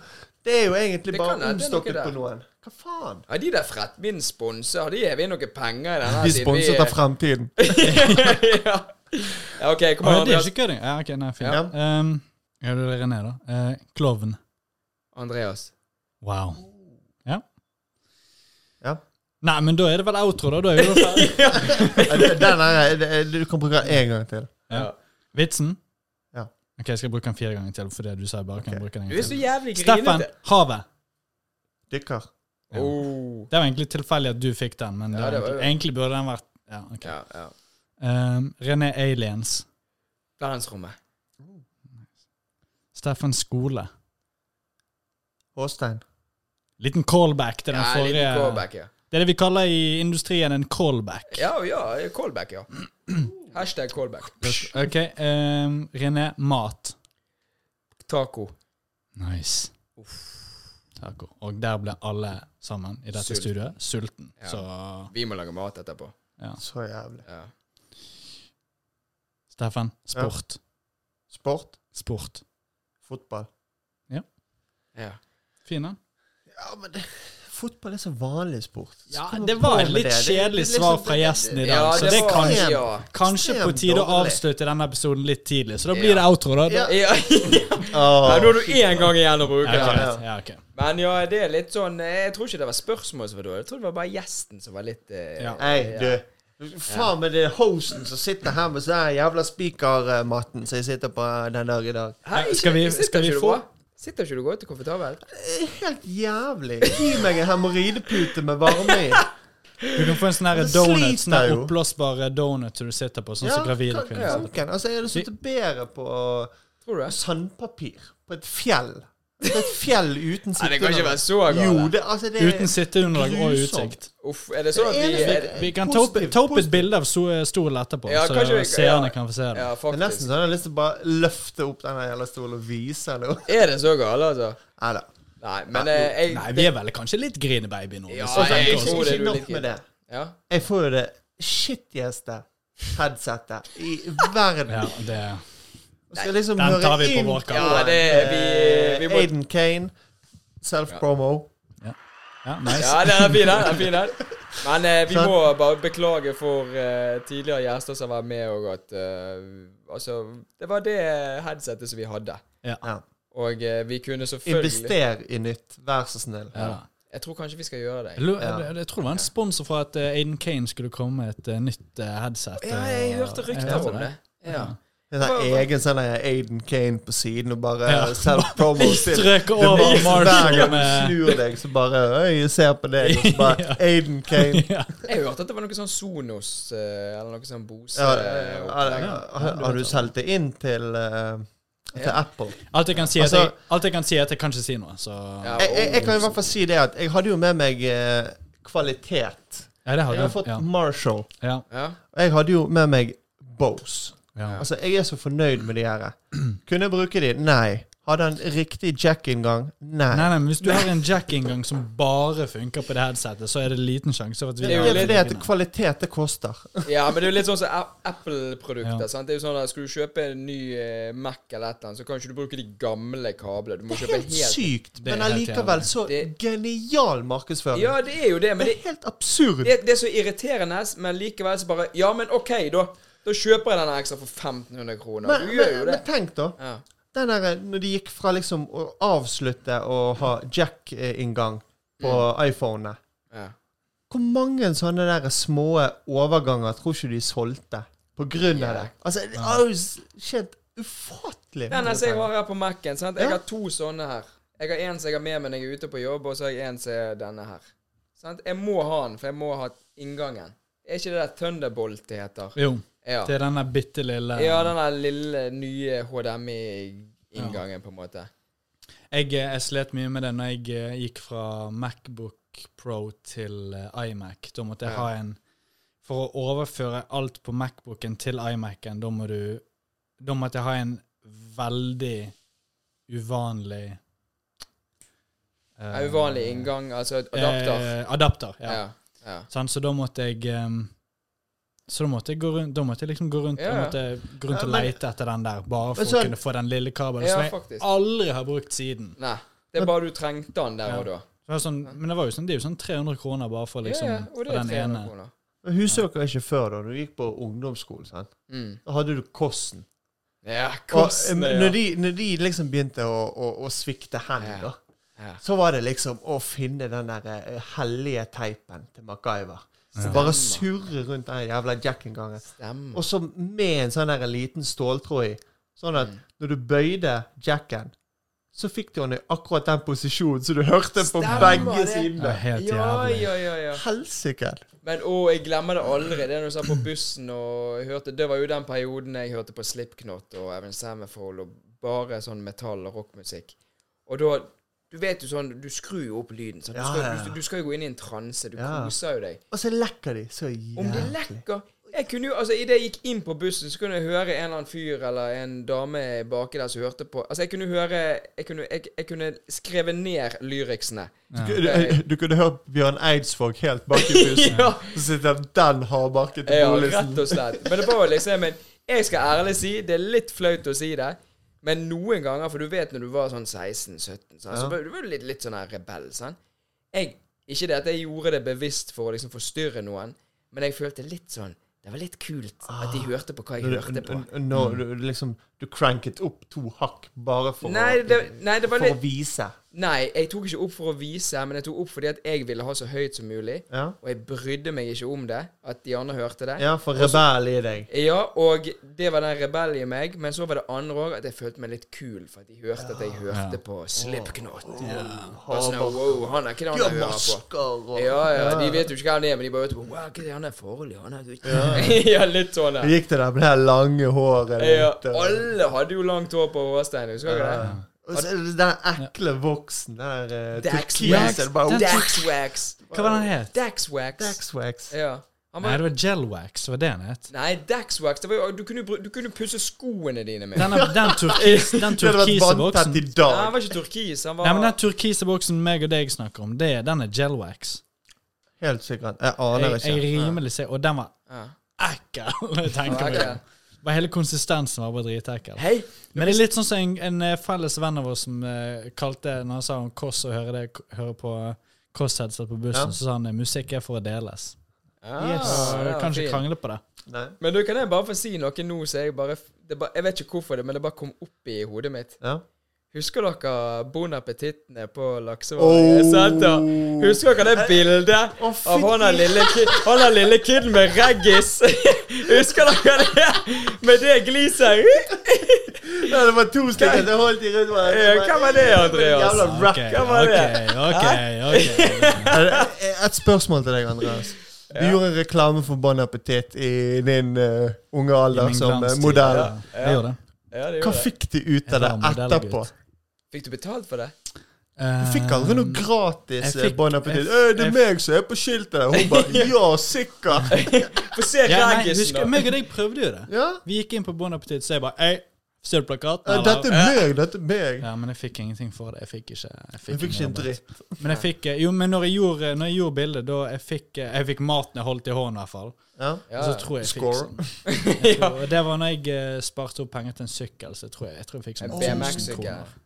Speaker 3: Det er jo egentlig
Speaker 2: Det
Speaker 3: bare
Speaker 2: kan hende det er noe
Speaker 3: omstokket
Speaker 2: der.
Speaker 3: på noen. Hva faen?
Speaker 2: Ja, de der Frettmin sponser, har de gitt noe penger i denne?
Speaker 3: De sponset av Fremtiden.
Speaker 2: ja. ja, OK, kom
Speaker 4: Å,
Speaker 2: an,
Speaker 4: ja, det er
Speaker 2: Andreas.
Speaker 4: ikke kødding. Ja, ok, nei, fint.
Speaker 3: Ja.
Speaker 4: Ja. Um, ja, det er René, da. Eh, Klovn.
Speaker 2: Andreas.
Speaker 4: Wow. Ja.
Speaker 3: Ja.
Speaker 4: Nei, men da er det vel outro, da. Da er vi jo ferdig.
Speaker 3: Ja, det- Den er, det- du kan bruke den én gang til.
Speaker 4: Ja. Vitsen?
Speaker 3: Ja.
Speaker 4: Ok, jeg skal bruke den fire ganger til, fordi du sa jeg bare kan
Speaker 3: Ok.
Speaker 4: bruke den
Speaker 2: Du
Speaker 4: en
Speaker 2: er
Speaker 4: gang
Speaker 2: så
Speaker 4: til.
Speaker 2: jævlig
Speaker 4: Steffen,
Speaker 2: grinete.
Speaker 4: havet.
Speaker 3: Dykker.
Speaker 4: Ja.
Speaker 2: Oh.
Speaker 4: Det var egentlig tilfeldig at du fikk den, men
Speaker 2: Ja,
Speaker 4: det
Speaker 2: det
Speaker 4: var,
Speaker 2: var jo-
Speaker 4: egentlig burde den vært ja, ok.
Speaker 2: Ja, ja.
Speaker 4: Um, René Aliens.
Speaker 2: Verdensrommet.
Speaker 4: Steffen Skole.
Speaker 3: Håstein.
Speaker 4: Liten callback til den
Speaker 2: Ja, en
Speaker 4: forrige.
Speaker 2: liten callback, ja.
Speaker 4: Det er det vi kaller i industrien en callback.
Speaker 2: Ja, ja, callback, ja. Hashtag callback.
Speaker 4: Ok, um, René Mat.
Speaker 2: Taco.
Speaker 4: Nice. Taco. Og der ble alle sammen i dette
Speaker 2: Sulten.
Speaker 4: studioet sulten.
Speaker 2: Ja.
Speaker 4: Så
Speaker 2: Vi må lage mat etterpå.
Speaker 3: Så jævlig.
Speaker 2: Ja.
Speaker 4: Steffen, sport.
Speaker 3: Sport.
Speaker 4: Sport.
Speaker 3: Fotball.
Speaker 2: ja.
Speaker 4: Fin, den.
Speaker 3: Ja, men det, fotball er så vanlig sport. Så
Speaker 4: Ja,
Speaker 3: kommer
Speaker 4: det
Speaker 3: på
Speaker 4: var
Speaker 3: med
Speaker 4: et litt
Speaker 3: det. Det-
Speaker 4: kjedelig
Speaker 3: det er liksom-
Speaker 4: svar fra gjesten i dag,
Speaker 2: Ja,
Speaker 4: så det
Speaker 2: var-
Speaker 4: er kanskje,
Speaker 2: Ja.
Speaker 4: kanskje på
Speaker 3: ekstremt
Speaker 4: tide å
Speaker 3: dårlig.
Speaker 4: avslutte denne episoden litt tidlig. Så da
Speaker 2: Ja.
Speaker 4: blir det outro, da.
Speaker 3: Ja.
Speaker 4: da.
Speaker 2: Ja,
Speaker 3: Åh,
Speaker 2: Nei, nå har du én gang igjen å bruke
Speaker 4: Ja,
Speaker 2: det.
Speaker 4: greit. ja, ok.
Speaker 2: Men ja, det er litt sånn eh, Jeg tror ikke det var spørsmål som var dårlig. Jeg tror det var bare gjesten som var litt eh,
Speaker 4: Ja.
Speaker 3: Nei, du. Faen med det er hosten som sitter her med sånn her jævla spikermatten som jeg sitter på den dag i dag.
Speaker 2: Hei,
Speaker 4: Ja, skal vi-
Speaker 2: sitter
Speaker 4: skal vi
Speaker 2: ikke du
Speaker 4: få-
Speaker 2: bra? Sitter ikke du godt og komfortabelt?
Speaker 3: Det er helt jævlig. Gi meg en hemoroidepute med varme i.
Speaker 4: Du kan få en sånn her
Speaker 3: Det
Speaker 4: donut,
Speaker 3: sliter
Speaker 4: sånn her
Speaker 3: jo.
Speaker 4: oppblåsbar donut som du sitter på, sånn som gravide
Speaker 3: kan-
Speaker 4: kvinner.
Speaker 3: kan- Altså, jeg hadde sittet bedre på
Speaker 2: Tror du det?
Speaker 3: sandpapir på et fjell. På et fjell uten
Speaker 2: Nei, det kan ikke være så
Speaker 3: sitteunderlag.
Speaker 2: galt.
Speaker 3: Jo, det, altså, det er
Speaker 4: Uten sitteunderlag og
Speaker 3: grusomt.
Speaker 4: utsikt.
Speaker 2: Uff, er det sånn at vi
Speaker 3: Det
Speaker 2: er,
Speaker 3: eneste-
Speaker 4: Vi kan ta opp,
Speaker 3: Positivt,
Speaker 4: ta opp et
Speaker 3: positivt.
Speaker 4: bilde av so- stolen etterpå,
Speaker 2: Ja,
Speaker 4: så
Speaker 2: kanskje vi-
Speaker 4: seerne
Speaker 2: ja.
Speaker 4: kan få se det.
Speaker 2: Ja,
Speaker 3: Det er nesten
Speaker 2: faktisk.
Speaker 3: sånn jeg har lyst til å bare løfte opp den her jævla stolen og vise noe.
Speaker 2: Er det så galt, altså?
Speaker 3: Nei da.
Speaker 2: Nei, men eh, jeg
Speaker 4: Nei, vi er vel kanskje litt grinebaby nå. hvis
Speaker 2: Ja,
Speaker 4: vi
Speaker 2: jeg
Speaker 4: tenker oss
Speaker 2: tror
Speaker 4: om.
Speaker 2: det er
Speaker 3: Ikke
Speaker 2: du
Speaker 3: nok
Speaker 2: liker.
Speaker 3: med det.
Speaker 2: Ja.
Speaker 3: Jeg får jo det shittieste headsetet i verden.
Speaker 4: Ja, det
Speaker 3: Og skal liksom
Speaker 4: Den
Speaker 3: høre
Speaker 4: tar vi på
Speaker 3: inn
Speaker 4: vår
Speaker 3: på
Speaker 4: kanal.
Speaker 2: Ja, det- vi- vi må-
Speaker 3: Aiden Kane, self-promo.
Speaker 4: ja, nice.
Speaker 2: Ja, den er fin, den. er fin den. Men eh, vi må bare beklage for eh, tidligere gjester som var med, og at eh, Altså, det var det headsetet som vi hadde.
Speaker 3: Ja.
Speaker 2: Og eh, vi kunne selvfølgelig
Speaker 3: Invester i nytt, vær så snill.
Speaker 4: Ja, da.
Speaker 2: Jeg tror kanskje vi skal gjøre det.
Speaker 4: Jeg lu- Jeg jeg tror det var en sponsor for at eh, Aiden Kane skulle komme med et eh, nytt eh, headset.
Speaker 2: Ja, jeg
Speaker 4: eh,
Speaker 2: hørte
Speaker 4: jeg
Speaker 2: rykter
Speaker 4: hørte
Speaker 2: om det. Ja.
Speaker 3: Det er sånn egen sånn her Aiden Kane på siden og bare
Speaker 4: Ja.
Speaker 3: self-promo.
Speaker 4: Vi
Speaker 3: til-
Speaker 4: strøk
Speaker 3: Det er
Speaker 4: over
Speaker 3: bare sånn Hver
Speaker 4: Marshall
Speaker 3: gang du
Speaker 4: med
Speaker 3: snur deg, så bare Øy, jeg ser på deg, og så bare Aiden Kane.
Speaker 4: ja.
Speaker 2: Jeg hørte at det var noe sånn Sonos eh, eller noe sånn Bose.
Speaker 3: Ja,
Speaker 2: eh,
Speaker 3: har,
Speaker 2: opplegg.
Speaker 3: har- har du solgt det inn til, eh, til Apple?
Speaker 4: alt, jeg kan si er at
Speaker 3: Altså-
Speaker 4: jeg, alt jeg kan si, er at jeg kan ikke si noe, så
Speaker 2: Ja,
Speaker 4: Ja,
Speaker 2: og-
Speaker 3: Jeg, jeg, jeg kan i hvert fall si det at jeg hadde jo med meg eh, kvalitet.
Speaker 4: det
Speaker 3: Jeg
Speaker 4: har
Speaker 3: har
Speaker 4: du.
Speaker 3: fått
Speaker 4: Ja.
Speaker 3: Marshall.
Speaker 4: Ja.
Speaker 2: ja.
Speaker 3: Og jeg hadde jo med meg Bose.
Speaker 4: Ja.
Speaker 3: Altså, jeg er så fornøyd med de her. Kunne jeg bruke de? Nei. Hadde han riktig jack-inngang? Nei.
Speaker 4: Nei, nei, men Hvis du har en jack-inngang som bare funker på det headsetet, så er det liten sjanse for at vi
Speaker 2: Det er jo
Speaker 3: Det er fordi at
Speaker 4: liggende.
Speaker 3: kvalitet, det koster.
Speaker 2: Ja, men det er jo litt sånn som A-
Speaker 4: Ja.
Speaker 2: Apple-produkter. sant? Det er jo sånn at Skal du kjøpe en ny eh, Mac eller et eller annet, så kan ikke du bruke de gamle kablene. Du må
Speaker 3: Det er
Speaker 2: kjøpe en
Speaker 3: helt
Speaker 2: helt
Speaker 3: sykt,
Speaker 4: Det er
Speaker 3: men
Speaker 4: helt
Speaker 3: allikevel
Speaker 4: jævlig.
Speaker 3: så
Speaker 2: Det-
Speaker 3: genial markedsføring.
Speaker 2: Ja, det er jo det, men
Speaker 3: det
Speaker 2: det,
Speaker 3: er helt absurd.
Speaker 2: det, det er så irriterende. Men likevel så bare Ja, men OK, da. Da kjøper jeg denne ekstra for 1500 kroner.
Speaker 3: Men,
Speaker 2: Du gjør
Speaker 3: men,
Speaker 2: jo det.
Speaker 3: men tenk, da.
Speaker 2: Ja.
Speaker 3: den der, eh, når de gikk fra liksom å avslutte og ha jack-inngang på
Speaker 2: Mm.
Speaker 3: iPhonene
Speaker 2: Ja.
Speaker 3: Hvor mange sånne der små overganger tror ikke de solgte på grunn av
Speaker 2: Ja.
Speaker 3: det? Altså, det har jo s- skjedd ufattelig
Speaker 2: Den
Speaker 3: mye
Speaker 2: altså, jeg
Speaker 3: penger.
Speaker 2: har her på Mac-en. sant? Jeg
Speaker 3: Ja.
Speaker 2: har to sånne her. Jeg har en som jeg har med meg når jeg er ute på jobb, og så har jeg en som er denne her. Sant? Jeg må ha den, for jeg må ha inngangen. Er ikke det der Thunderbolt det heter?
Speaker 4: Jo,
Speaker 2: Ja.
Speaker 4: det er denne bitte lille
Speaker 2: ja, den der lille nye HDMI-inngangen, på en måte.
Speaker 4: Jeg, eh, jeg slet mye med det når jeg eh, gikk fra Macbook Pro til eh, iMac. Da måtte jeg
Speaker 2: Ja.
Speaker 4: ha en For å overføre alt på Macbooken til iMacen, da må du Da måtte jeg ha en veldig uvanlig
Speaker 2: Ja, uvanlig inngang, altså et adapter.
Speaker 4: Eh, adapter, Eh, ja.
Speaker 2: Ja. ja.
Speaker 4: Sant, så da måtte jeg em, så da måtte jeg gå rundt Da måtte jeg liksom gå rundt
Speaker 2: Ja, ja.
Speaker 4: Jeg
Speaker 2: sånn-
Speaker 4: måtte gå rundt
Speaker 3: Ja,
Speaker 4: og
Speaker 3: men-
Speaker 4: leite etter den der, bare for
Speaker 3: Men så-
Speaker 4: å kunne få den lille kabelen
Speaker 2: Ja,
Speaker 4: som jeg
Speaker 2: faktisk.
Speaker 4: aldri har brukt siden.
Speaker 2: Nei. Det er bare du trengte den der
Speaker 4: Ja.
Speaker 2: og da.
Speaker 4: Så det er sånn, men det var jo sånn, det er jo sånn 300 kroner bare for liksom
Speaker 2: ja, ja. Og
Speaker 4: for
Speaker 2: det er
Speaker 4: den
Speaker 2: 300
Speaker 4: ene.
Speaker 2: kroner.
Speaker 3: Men Husker dere ikke før, da? Når du gikk på ungdomsskolen, sant?
Speaker 2: Mm.
Speaker 3: da hadde du kosten.
Speaker 2: Ja, altså.
Speaker 3: Og,
Speaker 2: kosten,
Speaker 3: eh,
Speaker 2: ja.
Speaker 3: når, de, når de liksom begynte å, å, å svikte hen,
Speaker 2: Ja.
Speaker 3: da,
Speaker 2: Ja.
Speaker 3: så var det liksom å finne den der eh, hellige teipen til MacGyver. Så Bare surre rundt den jævla jack-inngangen.
Speaker 2: Stemmer.
Speaker 3: Og så med en sånn der liten ståltråd i. Sånn
Speaker 2: Mm.
Speaker 3: at når du bøyde jacken, så fikk du den i akkurat den posisjonen, så du hørte på
Speaker 2: Stemmer
Speaker 3: begge
Speaker 2: det.
Speaker 4: Det er
Speaker 3: sidene.
Speaker 4: helt
Speaker 2: Ja,
Speaker 4: jævlig.
Speaker 2: ja, ja, ja.
Speaker 3: Helsike!
Speaker 2: Men å, jeg glemmer det aldri. Det er når jeg satt på bussen og hørte Det var jo den perioden jeg hørte på Slipknot og Evan Samifold og bare sånn metall- og rockmusikk. Og da Du vet jo sånn Du skrur jo opp lyden. sant? Du,
Speaker 3: Ja,
Speaker 2: skal,
Speaker 3: ja, ja.
Speaker 2: Du, du skal jo gå inn i en transe. Du
Speaker 3: Ja.
Speaker 2: koser jo deg.
Speaker 3: Og så lekker de så jævlig.
Speaker 2: Om de lekker Jeg kunne jo, altså Idet jeg gikk inn på bussen, så kunne jeg høre en eller annen fyr eller en dame baki der som hørte på Altså, jeg kunne høre Jeg kunne, jeg, jeg kunne skrevet ned lyriksene.
Speaker 3: Du, du, du kunne hørt Bjørn Eidsvåg helt bak i bussen.
Speaker 2: Ja.
Speaker 3: Så sitter den hardbarket til
Speaker 2: Ja,
Speaker 3: Bollesen.
Speaker 2: rett og slett. Men det var jo liksom en, Jeg skal ærlig si, det er litt flaut å si det, men noen ganger, for du vet når du var sånn 16-17, sånn, så
Speaker 3: Ja.
Speaker 2: var du var du litt, litt sånn her rebell, sant? Jeg, ikke det at jeg gjorde det bevisst for å liksom forstyrre noen, men jeg følte litt sånn Det var litt kult at
Speaker 3: Ah.
Speaker 2: de hørte på hva jeg hørte på.
Speaker 3: Når
Speaker 2: Mm.
Speaker 3: du liksom Du cranket opp to hakk bare for,
Speaker 2: Nei,
Speaker 3: å,
Speaker 2: det- nei, det var
Speaker 3: for
Speaker 2: litt-
Speaker 3: å vise.
Speaker 2: Nei, jeg tok ikke opp for å vise, men jeg tok opp fordi at jeg ville ha så høyt som mulig,
Speaker 3: Ja,
Speaker 2: og jeg brydde meg ikke om det, at de andre hørte det.
Speaker 3: ja for rebell i deg.
Speaker 2: Ja, og det var den rebellen i meg, men så var det andre òg at jeg følte meg litt kul, for at de hørte at jeg hørte på Slipknot. Og sånn, wow, han er ikke det han
Speaker 3: Ja,
Speaker 2: jeg hører på.
Speaker 3: masker og
Speaker 2: Ja, ja, de vet jo ikke hva han er, men de bare vet på, wow, hva er det han er forholdet, han er gutt. Ja, litt sånn.
Speaker 3: Det gikk det der med det her lange håret
Speaker 2: Ja,
Speaker 3: ditt, og-
Speaker 2: alle hadde jo langt hår på Hårstein, husker du det?
Speaker 3: Og så er det den ekle voksen der eh,
Speaker 2: Dax
Speaker 3: turkis
Speaker 2: Wax.
Speaker 3: er det bare-
Speaker 2: Daxwax.
Speaker 4: Hva var den het?
Speaker 2: Daxwax.
Speaker 3: Daxwax.
Speaker 2: Ja. Han
Speaker 4: Nei,
Speaker 2: var
Speaker 4: det var Gelwax, var det den het?
Speaker 2: Nei, Daxwax. Det var jo, du kunne, bru- du kunne pusse skoene dine med.
Speaker 4: Den, den, turkis, den
Speaker 3: Det hadde vært
Speaker 4: turkise
Speaker 3: vanntett i
Speaker 4: boksen
Speaker 2: Nei, han
Speaker 3: dag.
Speaker 2: var ikke turkis, han
Speaker 4: Nei,
Speaker 2: var
Speaker 4: men Den turkise boksen meg og deg snakker om, det, er- den er Gelwax.
Speaker 3: Helt sikkert. Jeg
Speaker 4: Jeg,
Speaker 3: aner
Speaker 4: jeg
Speaker 3: ikke.
Speaker 4: rimelig ser, Og den var
Speaker 2: ja.
Speaker 4: ekkel! når jeg tenker meg
Speaker 2: Ekkel.
Speaker 4: om. Bare Hele konsistensen var bare dritekkel.
Speaker 2: Hei!
Speaker 4: Men det er litt sånn som en, en eh, felles venn av oss som eh, kalte Når han sa om Kåss og høre, det, høre på eh, Kåss-headset på bussen,
Speaker 3: Ja.
Speaker 4: så sa han eh, musikk er for å deles.
Speaker 2: Ah,
Speaker 3: Yes.
Speaker 4: Så
Speaker 2: ja,
Speaker 4: kan
Speaker 2: fint.
Speaker 4: ikke krangle på det.
Speaker 3: Nei.
Speaker 2: Men du, kan jeg bare få si noe nå, så jeg bare det bare, Jeg vet ikke hvorfor det, men det bare kom opp i hodet mitt.
Speaker 3: Ja.
Speaker 2: Husker dere Bon appetittene på
Speaker 3: Åh.
Speaker 2: Laksevåg? Oh. Husker dere det bildet
Speaker 3: Å, fy
Speaker 2: av han der lille, ki- han der lille kiden med reggis? Husker dere det? Med det gliset?
Speaker 3: Ja, det var to stykker som holdt i rundt meg.
Speaker 2: Ja, hva var det, Andreas?
Speaker 3: Jævla rap.
Speaker 4: Ok,
Speaker 2: Hva var det?
Speaker 4: ok, ok, ok.
Speaker 3: Er det- Eh, Et spørsmål til deg, Andreas. Du gjorde reklame for Bon Appetit i din eh, unge
Speaker 4: I
Speaker 3: alder
Speaker 4: min
Speaker 3: som eh,
Speaker 4: glanstid.
Speaker 3: modell.
Speaker 4: Ja, Jeg gjorde det.
Speaker 2: Ja, det
Speaker 3: Hva
Speaker 2: gjorde det.
Speaker 3: fikk de ut av det
Speaker 4: Jeg var modellgutt.
Speaker 3: etterpå?
Speaker 2: Fikk du betalt for det?
Speaker 4: Eh,
Speaker 3: Du fikk aldri noe gratis
Speaker 4: Um, jeg
Speaker 3: eh,
Speaker 4: fikk-
Speaker 3: Bon Appetit.
Speaker 4: jeg-
Speaker 3: «Øy, Det
Speaker 4: jeg-
Speaker 3: er meg som er på skiltet. der.» Hun bare Ja, sikkert.
Speaker 2: Få se
Speaker 4: ja, nei,
Speaker 2: reggisen,
Speaker 4: husker,
Speaker 2: da.
Speaker 4: meg og deg prøvde jo det.
Speaker 3: Ja.
Speaker 4: Vi gikk inn på Bon Appetit, så jeg bare Ei, ser du plakaten?
Speaker 3: «Eh,
Speaker 4: eller?»
Speaker 3: Dette er meg, dette er meg.
Speaker 4: Ja, men jeg fikk ingenting for det. Jeg fikk ikke Jeg fikk,
Speaker 3: Jeg fikk ikke en
Speaker 4: rabatt.
Speaker 3: dritt.
Speaker 4: Men jeg fikk eh, Jo, men når jeg gjorde, når jeg gjorde bildet, da jeg fikk, eh, jeg fikk maten jeg holdt i hånden, i hvert fall.
Speaker 3: Ja.
Speaker 2: Ja,
Speaker 4: Og så tror jeg jeg fikk
Speaker 3: Score.
Speaker 4: sånn Jeg tror- Og det var når jeg eh, sparte opp penger til en sykkel, så jeg tror jeg, jeg, tror jeg fikk sånn
Speaker 2: En
Speaker 4: 1000
Speaker 2: BMX-sykkel.
Speaker 4: kroner.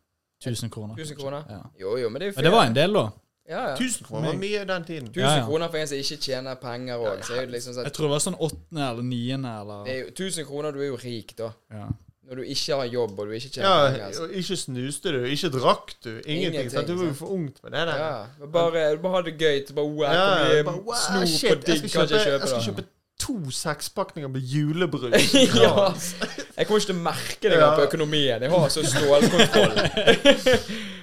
Speaker 4: 1000 kroner.
Speaker 2: 1000 kroner?
Speaker 4: Ja.
Speaker 2: Jo, jo, men det er jo
Speaker 4: Og det var
Speaker 2: fair.
Speaker 4: en del, da.
Speaker 2: Ja, ja.
Speaker 3: 1000 kroner var mye den tiden.
Speaker 2: 1000
Speaker 4: Ja, ja.
Speaker 2: kroner for en som ikke tjener penger òg. Så er det jo liksom sånn
Speaker 4: Jeg tror det var sånn åttende eller niende eller
Speaker 2: det er jo 1000 kroner, du er jo rik, da.
Speaker 4: ja.
Speaker 2: Nå Når du ikke har jobb, og du ikke tjener penger.
Speaker 3: Ja,
Speaker 2: altså.
Speaker 3: og ikke snuste du, ikke drakk du, ingenting.
Speaker 2: Ingenting,
Speaker 3: sant? Du var jo
Speaker 2: sant?
Speaker 3: for ungt med det der.
Speaker 2: Ja, men bare, bare ha det gøy. til Bare wow,
Speaker 3: Ja,
Speaker 2: hvor mye
Speaker 3: bare, wow,
Speaker 2: snop
Speaker 3: shit,
Speaker 2: og
Speaker 3: jeg
Speaker 2: digg
Speaker 3: skal
Speaker 2: kan jeg
Speaker 3: kjøpe-
Speaker 2: kjøpe?
Speaker 3: Jeg skal
Speaker 2: da?
Speaker 3: kjøpe to sekspakninger med julebrus.
Speaker 2: ja. Jeg kommer ikke til å merke det engang på
Speaker 3: Ja.
Speaker 2: økonomien. Jeg har så stålkontroll.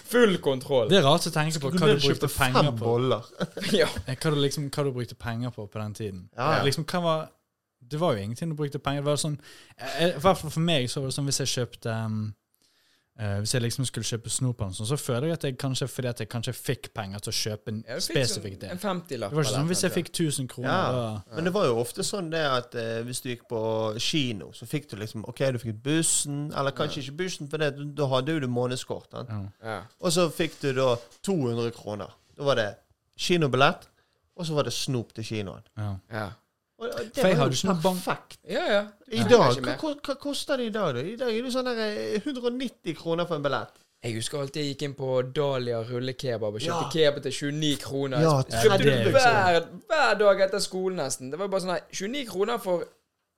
Speaker 2: Full kontroll.
Speaker 4: Det er rart å tenke på
Speaker 3: Du
Speaker 4: hva
Speaker 3: burde
Speaker 4: du brukte
Speaker 3: kjøpe
Speaker 4: penger
Speaker 3: fem
Speaker 4: på.
Speaker 3: boller.
Speaker 2: Ja.
Speaker 4: Eh, Hva du, liksom, hva du brukte penger på på den tiden.
Speaker 3: Ja, ja.
Speaker 4: Liksom, hva var, det var jo ingenting du brukte penger på. Sånn, eh, I hvert fall for meg så var det sånn hvis jeg kjøpte um, eh, Hvis jeg liksom skulle kjøpe snop, eller noe sånt, så føler jeg at jeg kanskje fordi at jeg kanskje fikk penger til å kjøpe en
Speaker 2: Jeg fikk sånn
Speaker 4: spesifikk
Speaker 2: en
Speaker 4: del.
Speaker 2: 50-lapp.
Speaker 4: Det var ikke
Speaker 2: eller
Speaker 4: sånn hvis jeg
Speaker 2: noe.
Speaker 4: fikk 1000 kroner.
Speaker 3: Ja.
Speaker 4: da-
Speaker 3: Men det var jo ofte sånn det at eh, hvis du gikk på kino, så fikk du liksom OK, du fikk bussen, eller kanskje ikke bussen, for det, da hadde jo du månedskort. sant?
Speaker 4: Ja.
Speaker 2: ja.
Speaker 3: Og så fikk du da 200 kroner. Da var det kinobillett, og så var det snop til kinoen.
Speaker 4: Ja.
Speaker 2: Ja.
Speaker 3: Og, og det
Speaker 4: For jeg
Speaker 3: var
Speaker 4: hadde
Speaker 3: jo
Speaker 4: ikke noe bank-
Speaker 3: perfekt.
Speaker 2: ja, ja. Du
Speaker 3: I
Speaker 2: trenger
Speaker 3: dag,
Speaker 2: ikke
Speaker 3: hva,
Speaker 2: mer.
Speaker 3: hva koster det i dag, da? I dag er det sånn der eh, 190 kroner for en billett.
Speaker 2: Jeg husker alltid jeg gikk inn på Dahlia rullekebab og kjøpte
Speaker 3: Ja.
Speaker 2: kebab til 29 kroner.
Speaker 3: Ja,
Speaker 2: Jeg kjøpte
Speaker 4: det er
Speaker 2: det
Speaker 4: jo
Speaker 2: hver, hver dag etter skolen, nesten. Det var bare sånn her 29 kroner for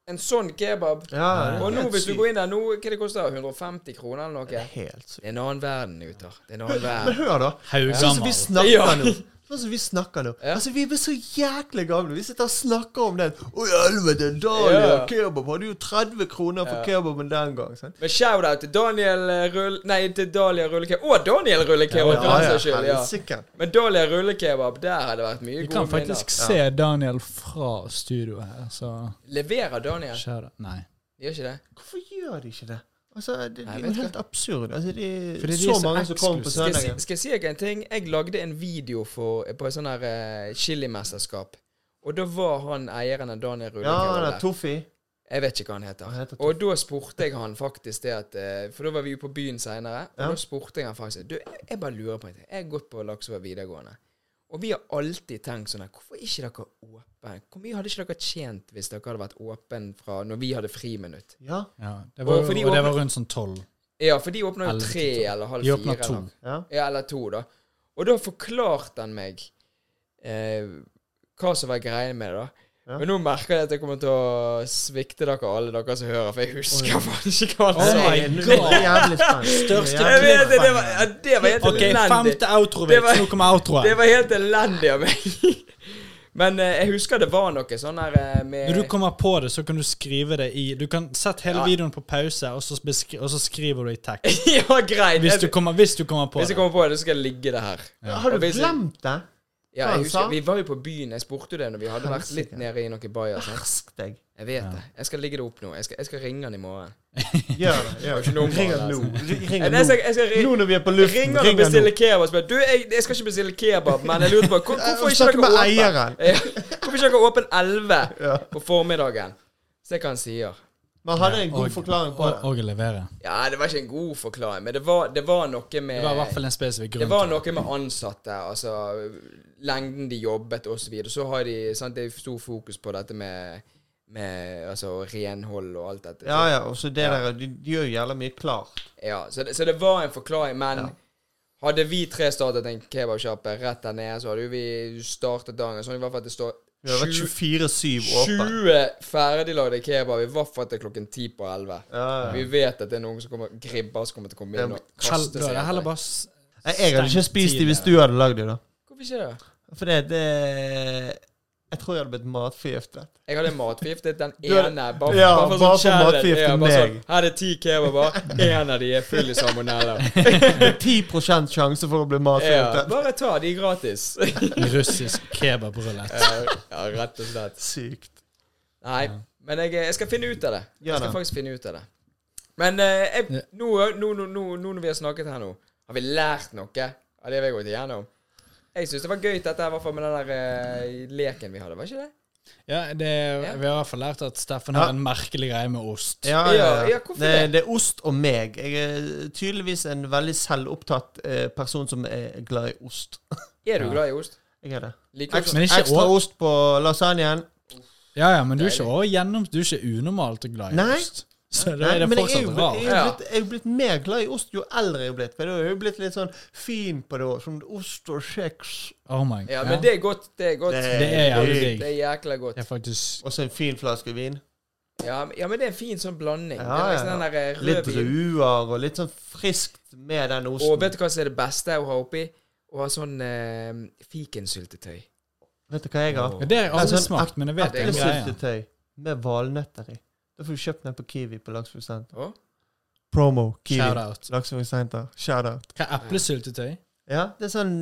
Speaker 2: en sånn kebab.
Speaker 3: Ja,
Speaker 2: Og nå, hvis du går inn der nå, hva det koster 150 kroner eller
Speaker 3: Det
Speaker 2: noe?
Speaker 3: er helt sykt.
Speaker 2: Det er en annen verden, gutter. Det er en annen
Speaker 3: Men
Speaker 2: verden.
Speaker 3: hør, da. Sånn som
Speaker 4: Haugammal.
Speaker 3: vi snakker
Speaker 2: Ja.
Speaker 3: nå. Sånn som vi snakker nå.
Speaker 2: Ja.
Speaker 3: Altså, vi er så jæklig gamle. Vi sitter og snakker om den. Å, i helvete, Dahlia
Speaker 2: Ja.
Speaker 3: kebab hadde jo 30 kroner for kebaben den gang. Sant?
Speaker 2: Men shout-out til Daniel eh, Rull... Nei, til Dahlia rullekebab. Og Daniel rullekebab, for den saks skyld. Ja.
Speaker 3: helsike.
Speaker 2: Men Dahlia rullekebab, der har det vært mye
Speaker 4: Vi
Speaker 2: gode
Speaker 4: kan faktisk se Daniel fra studioet her, så
Speaker 2: minner. Leverer Daniel?
Speaker 4: skjer det. Nei.
Speaker 2: Gjør ikke det?
Speaker 3: Hvorfor gjør de ikke det? Altså, det, det
Speaker 2: Nei,
Speaker 3: er
Speaker 2: vet
Speaker 3: jo helt absurd. Altså, det er
Speaker 4: Fordi de
Speaker 3: så
Speaker 4: er så
Speaker 3: mange som kommer på
Speaker 4: eksklusive.
Speaker 2: Skal jeg, si,
Speaker 3: søndagen.
Speaker 2: skal jeg si dere en ting? Jeg lagde en video for, på et sånt her eh, chilimesterskap. Og da var han eieren av Daniel
Speaker 3: Ja,
Speaker 2: Rullekebab
Speaker 3: han
Speaker 2: der.
Speaker 3: er Toffi.
Speaker 2: Jeg vet ikke hva han heter.
Speaker 3: Han heter Toffe.
Speaker 2: og da spurte jeg han faktisk det at eh, For da var vi jo på byen seinere, og
Speaker 3: Ja.
Speaker 2: da spurte jeg han faktisk Du, jeg jeg bare lurer på en ting. Jeg har gått på Laksevåg videregående, og vi har alltid tenkt sånn her Hvorfor er ikke dere åpen? Hvor mye hadde ikke dere tjent hvis dere hadde vært åpen fra når vi hadde friminutt?
Speaker 3: Ja.
Speaker 4: Ja, det var,
Speaker 2: Og fordi
Speaker 4: og det
Speaker 2: åpne-
Speaker 4: var rundt sånn tolv.
Speaker 2: Ja, for de åpner jo
Speaker 4: Eller
Speaker 2: tre
Speaker 4: to.
Speaker 2: eller halv fire.
Speaker 4: De åpner to.
Speaker 2: eller-
Speaker 3: ja.
Speaker 2: Ja, eller to, da. Og da forklarte han meg eh, hva som var greia med det, da.
Speaker 3: Ja.
Speaker 2: Men nå merker jeg at jeg kommer til å svikte dere alle, dere som hører, for jeg husker faktisk ikke hva han
Speaker 4: Oh
Speaker 2: sa.
Speaker 4: my
Speaker 3: Nei, nå er jeg jævlig spent. Nå
Speaker 4: Største
Speaker 3: er
Speaker 2: Jeg
Speaker 3: jeg jævlig
Speaker 2: vet det, det var, ja, det var helt
Speaker 4: OK,
Speaker 2: elendig.
Speaker 4: femte outro.
Speaker 2: Det
Speaker 4: Vits.
Speaker 2: var-
Speaker 4: Nå kommer outroen.
Speaker 2: Det var helt elendig av meg. Men eh, jeg husker det var noe sånn her eh, med
Speaker 4: Når du kommer på det, så kan du skrive det i Du kan sette hele
Speaker 2: Ja.
Speaker 4: videoen på pause, og så, beskri, og så skriver du i tekst.
Speaker 2: Ja, greit.
Speaker 4: Hvis
Speaker 2: Jeg-
Speaker 4: du kommer, hvis du kommer på
Speaker 2: hvis jeg
Speaker 4: det.
Speaker 2: kommer på det, så skal jeg ligge det her.
Speaker 3: spent. Har
Speaker 2: Og
Speaker 3: du
Speaker 2: hvis jeg-
Speaker 3: glemt det?
Speaker 2: Ja,
Speaker 3: Hva han
Speaker 2: jeg
Speaker 3: sa?
Speaker 2: husker, Vi var jo på byen, jeg spurte jo det når vi hadde vært litt
Speaker 3: Helsike.
Speaker 2: nede i noen bayer. sånn. sant?
Speaker 3: Hersk deg.
Speaker 2: Jeg vet det. Jeg skal ligge det opp nå. Jeg skal, jeg skal ringe han i morgen.
Speaker 3: Gjør det. Gjør
Speaker 2: ikke
Speaker 3: det.
Speaker 2: nummeret,
Speaker 3: Ring han nå. Ring
Speaker 2: Jeg, jeg
Speaker 3: han nå.
Speaker 2: skal, jeg skal
Speaker 3: Nå
Speaker 2: ringe
Speaker 3: når vi er på luften,
Speaker 2: Ring han og
Speaker 3: ring han nå.
Speaker 2: bestille kebab. og spør, Du, jeg, jeg skal ikke bestille kebab, men jeg lurer på hvor, hvorfor ikke
Speaker 3: Snakk
Speaker 2: dere
Speaker 3: med
Speaker 2: åpen?
Speaker 3: eieren.
Speaker 2: Ja, Hvorfor ikke dere åpen 11
Speaker 3: Ja.
Speaker 2: på formiddagen? Se hva han sier.
Speaker 3: Men hadde en god forklaring på
Speaker 4: Og,
Speaker 3: det.
Speaker 4: og levere.
Speaker 2: Ja, det var ikke en god forklaring, men det var, det var noe med
Speaker 4: Det var i hvert fall en spesifikk
Speaker 2: det
Speaker 4: grunn.
Speaker 2: var
Speaker 4: til
Speaker 2: noe med ansatte, altså lengden de jobbet osv. Så, videre. så har de sant, det er stor fokus på dette med, med altså, renhold og alt dette.
Speaker 3: Ja, ja, og så det der, de, de gjør jo jævla mye klart.
Speaker 2: Ja, så, det, så det var en forklaring, men hadde vi tre startet en kebabsjappe rett der nede, så hadde jo vi startet dagen sånn i hvert fall at det står
Speaker 3: Vi har vært
Speaker 2: 20
Speaker 3: 24-7 åpen.
Speaker 2: 20 ferdiglagde kebab, i hvert fall til klokken 10 på 11.
Speaker 3: Ja, ja.
Speaker 2: Vi vet at det er noen som kommer gribber som kommer til å komme inn og
Speaker 4: det. Hell,
Speaker 2: kaste
Speaker 4: da er
Speaker 2: seg
Speaker 4: det heller
Speaker 2: etter deg.
Speaker 4: bare s-
Speaker 3: Nei, Jeg hadde ikke
Speaker 4: stengt
Speaker 3: spist de hvis
Speaker 4: tidligere.
Speaker 3: du hadde lagd de, da.
Speaker 2: Hvorfor ikke det?
Speaker 3: For det, det Jeg tror jeg hadde blitt matforgiftet.
Speaker 2: Jeg hadde matforgiftet den
Speaker 3: Du hadde-
Speaker 2: ene. Bare,
Speaker 3: Ja,
Speaker 2: bare for
Speaker 3: bare
Speaker 2: sånn
Speaker 3: for
Speaker 2: challenge.
Speaker 3: matforgiftet
Speaker 2: Ja, bare sånn,
Speaker 3: meg.
Speaker 2: her er ti kebaber, én av de er full i salmonella.
Speaker 3: 10 sjanse for å bli
Speaker 2: Ja,
Speaker 3: matforgiftet.
Speaker 2: bare ta de gratis.
Speaker 4: Russisk kebabrulett.
Speaker 2: Ja, rett og slett.
Speaker 3: Sykt.
Speaker 2: Nei, men jeg, jeg skal finne ut av det.
Speaker 3: Gjør
Speaker 2: Jeg skal
Speaker 3: det.
Speaker 2: faktisk finne ut av det. Men eh, jeg, nå, nå, nå, nå, nå når vi har snakket her nå, har vi lært noe av det vi har gått igjennom. Jeg syns det var gøy dette her, i hvert fall med den der eh, leken vi hadde, var ikke det?
Speaker 4: Ja, det,
Speaker 2: Ja.
Speaker 4: vi har i hvert fall lært at Steffen
Speaker 3: Ja.
Speaker 4: har en merkelig greie med ost.
Speaker 3: Ja,
Speaker 2: Ja,
Speaker 3: ja,
Speaker 2: ja,
Speaker 3: ja.
Speaker 2: hvorfor
Speaker 3: Det,
Speaker 2: det?
Speaker 3: det er ost og meg. Jeg er tydeligvis en veldig selvopptatt eh, person som er glad i ost.
Speaker 2: Er du
Speaker 4: Ja.
Speaker 2: glad i ost?
Speaker 3: Jeg er det.
Speaker 2: Liker du
Speaker 3: Ekstra,
Speaker 4: Men ikke
Speaker 3: ekstra
Speaker 4: å-
Speaker 3: ost på lasagnen.
Speaker 4: Ja, ja, men du er ikke
Speaker 2: Deilig.
Speaker 4: også gjennom, du er ikke unormalt glad i
Speaker 3: Nei.
Speaker 4: ost. Så da
Speaker 3: Nei,
Speaker 4: er det
Speaker 3: men jeg er jo
Speaker 4: fortsatt
Speaker 3: blitt, jeg er
Speaker 4: rart.
Speaker 3: jo
Speaker 2: Ja.
Speaker 3: blitt, jeg er jo blitt mer glad i ost jo eldre jeg er blitt. For da er jeg jo blitt litt sånn fin på det òg. Som ost og kjeks.
Speaker 4: Oh my
Speaker 2: Ja,
Speaker 4: Ja.
Speaker 2: men det er godt. Det er godt.
Speaker 4: Det er jævlig digg.
Speaker 2: Det er jækla godt.
Speaker 4: Det er faktisk
Speaker 3: Og så en fin flaske vin.
Speaker 2: Ja, men- ja, men det er en fin sånn blanding.
Speaker 3: Ja,
Speaker 2: det er liksom
Speaker 3: ja,
Speaker 2: den der eh,
Speaker 3: Litt
Speaker 2: rødvin.
Speaker 3: druer og litt sånn friskt med den osten.
Speaker 2: Og vet du hva som er det beste å ha oppi? Å ha sånn eh, fikensyltetøy.
Speaker 3: Vet du hva jeg har?
Speaker 4: Ja, det har
Speaker 3: Det
Speaker 4: jeg
Speaker 3: er
Speaker 4: aldri
Speaker 3: sånn
Speaker 4: smakt, men jeg vet
Speaker 2: det er
Speaker 4: den greia.
Speaker 3: Eplesyltetøy med valnøtter i. Da får du kjøpt den på Kiwi på Laksefjordsenteret.
Speaker 2: Å?
Speaker 3: Promo Kiwi.
Speaker 4: Shout-out.
Speaker 3: Laksefjordsenter. Shout-out.
Speaker 4: Hva er eplesyltetøy?
Speaker 3: Ja, det er sånn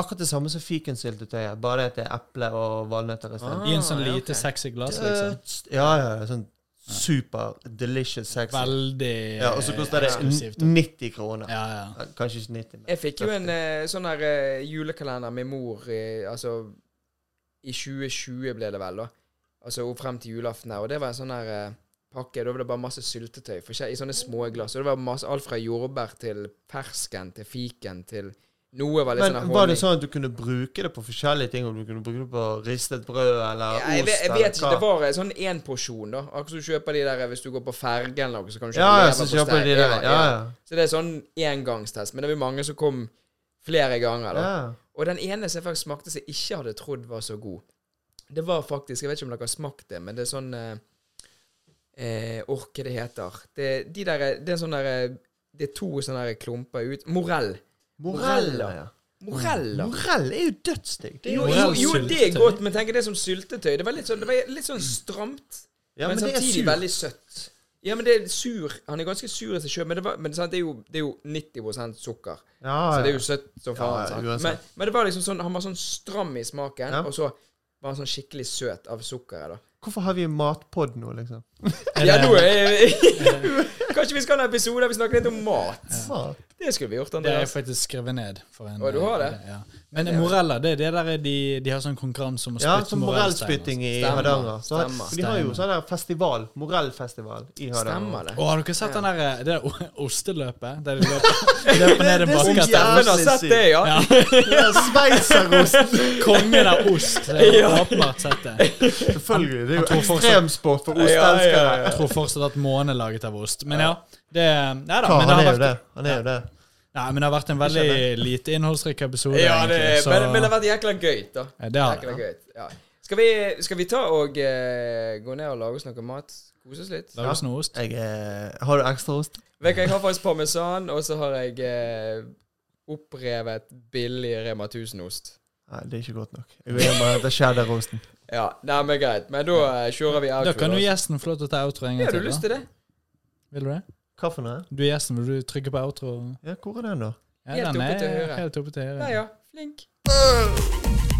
Speaker 3: akkurat det samme som fikensyltetøyet, bare at det er eple og valnøtter isteden.
Speaker 2: Ah,
Speaker 4: I en sånn
Speaker 2: ja,
Speaker 4: lite
Speaker 2: ok.
Speaker 4: sexy glass, liksom.
Speaker 3: Døds- Eh, Ja, ja, ja. Sånn super delicious sexy.
Speaker 4: Veldig
Speaker 3: Ja, og så koster det
Speaker 4: eksklusivt.
Speaker 3: 90 kroner.
Speaker 4: Ja, ja.
Speaker 3: Kanskje ikke 90, men
Speaker 2: Jeg fikk jo en eh, sånn her eh, julekalender med mor eh, Altså I 2020 ble det vel, da. Altså og frem til julaften her. Og det var en sånn her eh, pakke. Da var det bare masse syltetøy forskjell- i sånne små glass. Og det var masse, alt fra jordbær til fersken til fiken til Noe var litt sånn
Speaker 3: Men
Speaker 2: her
Speaker 3: var
Speaker 2: honning.
Speaker 3: det sånn at du kunne bruke det på forskjellige ting? Om du kunne bruke det på ristet brød eller
Speaker 2: Ja, jeg,
Speaker 3: ost?
Speaker 2: vet, jeg
Speaker 3: eller
Speaker 2: vet ikke.
Speaker 3: hva?
Speaker 2: Det var en sånn én porsjon, da. Akkurat som du kjøper de der eh, hvis du går på ferge eller noe, så kan du kjøpe
Speaker 3: Ja, ja, så
Speaker 2: leverpostei.
Speaker 3: kjøper de der. Ja, ja.
Speaker 2: Så det er sånn engangstest. Men det var mange som kom flere ganger, da.
Speaker 3: ja.
Speaker 2: Og den ene som jeg faktisk smakte som jeg ikke hadde trodd var så god, det var faktisk Jeg vet ikke om dere har smakt det, men det er sånn eh, eh, Orke det heter. Det, de der, det er sånn der eh, Det er to sånne der klumper ut Morell.
Speaker 3: Morella. Ja.
Speaker 2: Moreller.
Speaker 4: Mm.
Speaker 3: Morell er jo dødsdigg. Det er
Speaker 2: Jo,
Speaker 3: jo-
Speaker 2: jo,
Speaker 4: Morell
Speaker 2: jo, det er
Speaker 4: syltetøy.
Speaker 2: godt, men tenk det som syltetøy. Det var litt sånn, det var litt sånn stramt.
Speaker 3: Ja,
Speaker 2: men,
Speaker 3: men det er
Speaker 2: samtidig
Speaker 3: surt.
Speaker 2: veldig søtt. Ja, men det er sur. Han er ganske sur i seg sjøl, men, det, var, men sant, det, er jo, det er jo 90 sukker.
Speaker 3: Ja,
Speaker 2: Så det er
Speaker 3: Ah, ja.
Speaker 2: jo søtt som
Speaker 3: Ja, ja,
Speaker 2: faen. sant?
Speaker 3: uansett.
Speaker 2: men, men det var liksom sånn, han var sånn stram i smaken,
Speaker 3: Ja.
Speaker 2: og så var han sånn skikkelig søt av sukkeret, da.
Speaker 3: Hvorfor har vi en matpod nå, liksom?
Speaker 4: Er
Speaker 2: Ja,
Speaker 4: det-
Speaker 2: nå er Kanskje vi skal ha en episode der vi snakker litt om mat.
Speaker 3: Mat.
Speaker 2: Det skulle vi gjort,
Speaker 4: Det har jeg
Speaker 2: Andreas.
Speaker 4: faktisk skrevet ned. For en, eh,
Speaker 2: Å, du har det?
Speaker 4: Ja. Men Morella, det er det der de, de har sånn konkurranse om å
Speaker 3: Ja,
Speaker 4: spytte altså.
Speaker 3: som morellspytting i
Speaker 2: Stemmer,
Speaker 3: Hardanger. Så har-
Speaker 2: stemmer.
Speaker 3: De har jo sånn der festival, morellfestival, i Hardanger.
Speaker 2: Stemmer det?
Speaker 4: Å, har dere sett den der, eh, det der o- osteløpet? Der de løper, løper ned en
Speaker 3: det er så
Speaker 4: bakkete?
Speaker 3: jævlig.
Speaker 2: Dæven har sett det, ja.
Speaker 4: Ja,
Speaker 3: Ja, Sveitserost!
Speaker 4: kongen av ost. så Jeg har åpenbart sett det.
Speaker 3: Selvfølgelig. Det er jo
Speaker 4: tror fortsatt-
Speaker 3: ekstremsport for ostelskere.
Speaker 4: Jeg tror fortsatt at månen er laget av ost. Men ja, det Nei da,
Speaker 3: Ja,
Speaker 4: men det
Speaker 3: han
Speaker 4: har
Speaker 3: er jo
Speaker 4: vært,
Speaker 3: det. Han er jo det.
Speaker 4: nei, men det har vært en veldig lite innholdsrik episode,
Speaker 2: Ja, det,
Speaker 4: egentlig. Så
Speaker 2: men, men det har vært jækla gøy, da.
Speaker 4: Ja, det har det,
Speaker 2: Jækla gøy. Ja. Skal, vi, skal vi ta og eh, gå ned og lage oss noe mat? Kose oss litt?
Speaker 4: lages noe ost.
Speaker 3: Jeg, eh, har du ekstraost?
Speaker 2: Vet du, hva, Jeg har faktisk parmesan, og så har jeg eh, opprevet billig Rema 1000-ost.
Speaker 3: Nei, det er ikke godt nok. Jeg vil bare hente cheddarosten.
Speaker 2: Ja, nei, men greit. Men da eh, kjører vi
Speaker 4: Da
Speaker 2: outro.
Speaker 4: kan jo
Speaker 2: da.
Speaker 4: gjesten få lov til å ta outro en
Speaker 2: Ja,
Speaker 4: gang
Speaker 2: har du
Speaker 4: til.
Speaker 2: lyst
Speaker 4: da.
Speaker 2: til det?
Speaker 4: Vil du det?
Speaker 3: Hva for noe?
Speaker 4: Du er gjesten, vil du trykke på outro?
Speaker 3: Ja, hvor er den, da?
Speaker 4: Ja,
Speaker 2: Helt
Speaker 4: den
Speaker 2: oppe til
Speaker 4: er
Speaker 2: høyre.
Speaker 4: Helt oppe til
Speaker 2: Ja,
Speaker 4: høyre.
Speaker 2: ja. Flink.